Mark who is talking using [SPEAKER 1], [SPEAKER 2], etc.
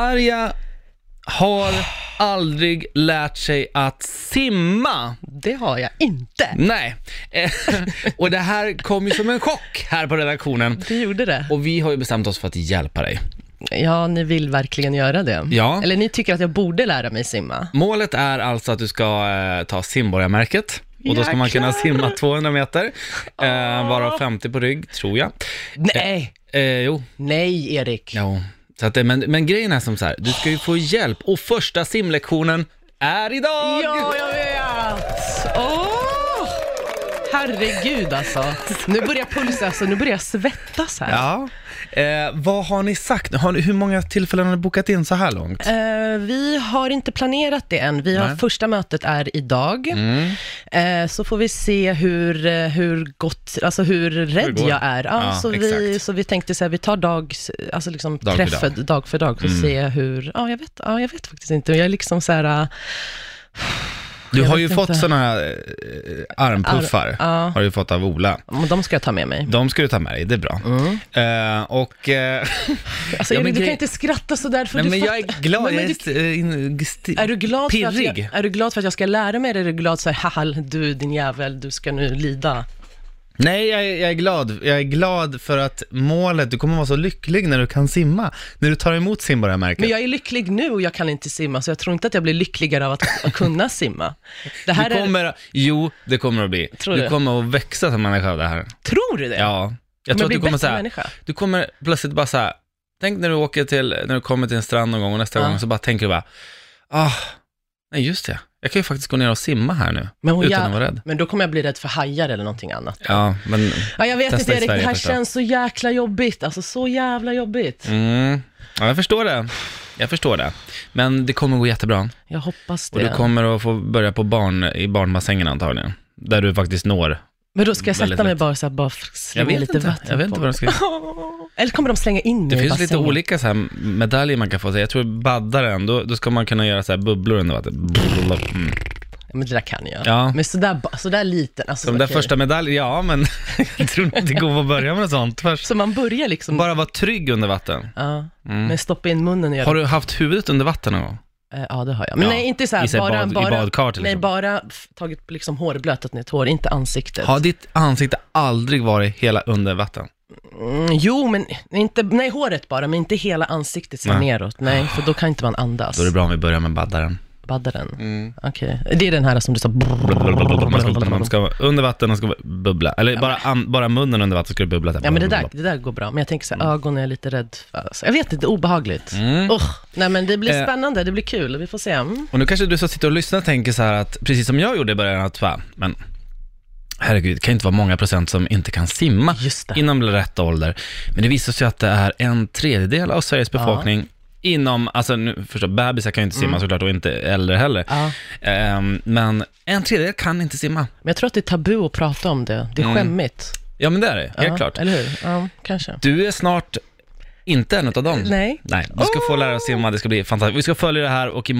[SPEAKER 1] Sverige har aldrig lärt sig att simma.
[SPEAKER 2] Det har jag inte.
[SPEAKER 1] Nej, Eh, och det här kom ju som en chock här på redaktionen.
[SPEAKER 2] Du gjorde det.
[SPEAKER 1] Och vi har ju bestämt oss för att hjälpa dig.
[SPEAKER 2] Ja, ni vill verkligen göra det.
[SPEAKER 1] Ja.
[SPEAKER 2] Eller ni tycker att jag borde lära mig simma.
[SPEAKER 1] Målet är alltså att du ska eh, ta simborgarmärket. Och då ska man kunna simma 200 meter, eh, varav 50 på rygg, tror jag.
[SPEAKER 2] Nej,
[SPEAKER 1] Eh, jo,
[SPEAKER 2] nej Erik.
[SPEAKER 1] jo. Så att, det- men, men grejen är som så här, du ska ju få hjälp och första simlektionen är idag!
[SPEAKER 2] Ja, jag vet! Åh! Herregud alltså. Nu börjar pulsen, alltså, nu börjar jag svettas här.
[SPEAKER 1] Ja. Eh, vad har ni sagt? Har ni, hur många tillfällen har ni bokat in så här långt?
[SPEAKER 2] Eh, vi har inte planerat det än. Vi har,
[SPEAKER 1] Nej. Mm.
[SPEAKER 2] första mötet är idag. Eh, så får vi se hur, eh, hur gott, alltså hur
[SPEAKER 1] Hur
[SPEAKER 2] rädd
[SPEAKER 1] det går.
[SPEAKER 2] jag är. Ja,
[SPEAKER 1] Ja,
[SPEAKER 2] så, vi,
[SPEAKER 1] exakt.
[SPEAKER 2] så vi tänkte så här, vi tar dag, alltså liksom
[SPEAKER 1] Dag för
[SPEAKER 2] träff för dag. för dag, för att
[SPEAKER 1] Mm.
[SPEAKER 2] se hur, ja jag vet, ja, jag vet faktiskt inte. Jag är liksom så här, eh,
[SPEAKER 1] Du
[SPEAKER 2] jag
[SPEAKER 1] har
[SPEAKER 2] vet
[SPEAKER 1] ju
[SPEAKER 2] inte.
[SPEAKER 1] fått sådana här eh, armpuffar,
[SPEAKER 2] ja.
[SPEAKER 1] har du fått av Ola.
[SPEAKER 2] men de ska jag ta med mig.
[SPEAKER 1] De ska du ta med dig, det är bra.
[SPEAKER 2] Mm.
[SPEAKER 1] Eh, och... Eh,
[SPEAKER 2] Alltså,
[SPEAKER 1] Ja, men
[SPEAKER 2] Erik, du
[SPEAKER 1] grej-
[SPEAKER 2] kan inte skratta så där för du fattar- Men- men du-
[SPEAKER 1] eh,
[SPEAKER 2] Är du, glad för att jag,
[SPEAKER 1] pirrig.
[SPEAKER 2] är du glad för att jag ska lära mig det? Är du glad så här, haha, du din jävel, du ska nu lida?
[SPEAKER 1] Nej, jag, är- jag är glad. Jag är glad för att målet, du kommer vara så lycklig när du kan simma. När du tar emot
[SPEAKER 2] Men
[SPEAKER 1] simborgarmärket.
[SPEAKER 2] jag är lycklig nu och jag kan inte simma, så jag tror inte att jag blir lyckligare av att, att kunna simma. Det här
[SPEAKER 1] Du
[SPEAKER 2] är,
[SPEAKER 1] kommer, Jo, det kommer att bli.
[SPEAKER 2] Tror
[SPEAKER 1] du
[SPEAKER 2] du?
[SPEAKER 1] kommer att växa som människa av det här.
[SPEAKER 2] tror du det?
[SPEAKER 1] Ja. Jag tror att
[SPEAKER 2] bli
[SPEAKER 1] du kommer
[SPEAKER 2] bättre
[SPEAKER 1] så här,
[SPEAKER 2] människa.
[SPEAKER 1] du kommer plötsligt bara så här, tänk när du åker till, när du kommer till en strand någon gång och nästa
[SPEAKER 2] Ja.
[SPEAKER 1] gång så bara tänker du bara, ah, nej just det, jag kan ju faktiskt gå ner och simma här nu,
[SPEAKER 2] Men, hon,
[SPEAKER 1] utan att
[SPEAKER 2] jag,
[SPEAKER 1] vara rädd.
[SPEAKER 2] men då kommer jag bli rädd för hajar eller någonting annat.
[SPEAKER 1] Ja, men,
[SPEAKER 2] Ja, jag vet
[SPEAKER 1] Testa
[SPEAKER 2] inte
[SPEAKER 1] i
[SPEAKER 2] Erik,
[SPEAKER 1] Sverige
[SPEAKER 2] det här
[SPEAKER 1] först då.
[SPEAKER 2] känns så jäkla jobbigt. Alltså så jävla jobbigt.
[SPEAKER 1] mm, ja, jag förstår det. Jag förstår det. Men det kommer gå jättebra.
[SPEAKER 2] Jag hoppas
[SPEAKER 1] Och
[SPEAKER 2] det.
[SPEAKER 1] du kommer att få börja på barn, i barnbassängen antagligen. Där du faktiskt når.
[SPEAKER 2] Men då ska jag
[SPEAKER 1] väldigt
[SPEAKER 2] sätta mig
[SPEAKER 1] lätt.
[SPEAKER 2] bara så här, bara f-
[SPEAKER 1] Jag
[SPEAKER 2] slänga
[SPEAKER 1] vet
[SPEAKER 2] lite
[SPEAKER 1] inte,
[SPEAKER 2] vatten
[SPEAKER 1] jag vet inte
[SPEAKER 2] på
[SPEAKER 1] vad de
[SPEAKER 2] mig.
[SPEAKER 1] ska
[SPEAKER 2] Eller kommer de slänga in
[SPEAKER 1] Det
[SPEAKER 2] mig i
[SPEAKER 1] finns lite
[SPEAKER 2] bassängen?
[SPEAKER 1] olika så här medaljer man kan få. Så Jag tror baddaren, då, då ska man kunna göra så här bubblor under vattnet. Mm.
[SPEAKER 2] Ja, Men det där kan jag.
[SPEAKER 1] Ja.
[SPEAKER 2] Men sådär, ba- sådär liten, alltså,
[SPEAKER 1] De där
[SPEAKER 2] okej.
[SPEAKER 1] första medaljerna, ja men jag tror inte det går att börja med något sånt först.
[SPEAKER 2] Så man börjar liksom,
[SPEAKER 1] Bara Mm. vara trygg under vatten.
[SPEAKER 2] ja, men stoppa in munnen och göra
[SPEAKER 1] Har du haft huvudet under vatten någon gång?
[SPEAKER 2] Eh, Ja, det har jag. Men
[SPEAKER 1] Ja,
[SPEAKER 2] nej, inte så här,
[SPEAKER 1] i så här
[SPEAKER 2] bara,
[SPEAKER 1] bad- i
[SPEAKER 2] bara,
[SPEAKER 1] badkar till
[SPEAKER 2] nej,
[SPEAKER 1] exempel.
[SPEAKER 2] bara f- tagit liksom hårblötat nytt hår, inte ansiktet.
[SPEAKER 1] Har ditt ansikte aldrig varit hela under vatten?
[SPEAKER 2] Mm, jo, men inte, nej, håret bara, men inte hela ansiktet så här
[SPEAKER 1] Nej.
[SPEAKER 2] neråt. Nej, för då kan inte man andas.
[SPEAKER 1] Då är det bra om vi börjar med baddaren.
[SPEAKER 2] Baddaren. Okej, det är den här som du sa.
[SPEAKER 1] Mm. Man ska, man ska under vatten och ska bubbla. Eller bara, an, bara munnen under vatten ska det bubbla.
[SPEAKER 2] Ja, men det där, det där går bra. Men jag tänker så här,
[SPEAKER 1] Mm.
[SPEAKER 2] ögonen är jag lite rädd för. Alltså, jag vet inte, obehagligt. Usch, nej, men det blir
[SPEAKER 1] Eh.
[SPEAKER 2] spännande, det blir kul, vi får se. Mm.
[SPEAKER 1] Mm. Och nu kanske du som sitter och lyssnar tänker så här att, precis som jag gjorde i början, att va, men herregud, det kan ju inte vara många procent som inte kan simma
[SPEAKER 2] Just det.
[SPEAKER 1] inom rätt ålder. Men det visar sig att det är en tredjedel av Sveriges befolkning inom, alltså nu förstår, bebisar kan ju inte simma såklart och inte äldre heller.
[SPEAKER 2] Mm. Ja.
[SPEAKER 1] Ehm, men en tredjedel kan inte simma.
[SPEAKER 2] Men jag tror att det är tabu att prata om det. Det är skämmigt.
[SPEAKER 1] Ja men det är det, Mm. helt
[SPEAKER 2] ja,
[SPEAKER 1] klart.
[SPEAKER 2] Eller hur? Ja, kanske.
[SPEAKER 1] Du är snart inte en av dem.
[SPEAKER 2] Nej.
[SPEAKER 1] Nej, du ska få lära dig att simma, det ska bli fantastiskt. Vi ska följa det här och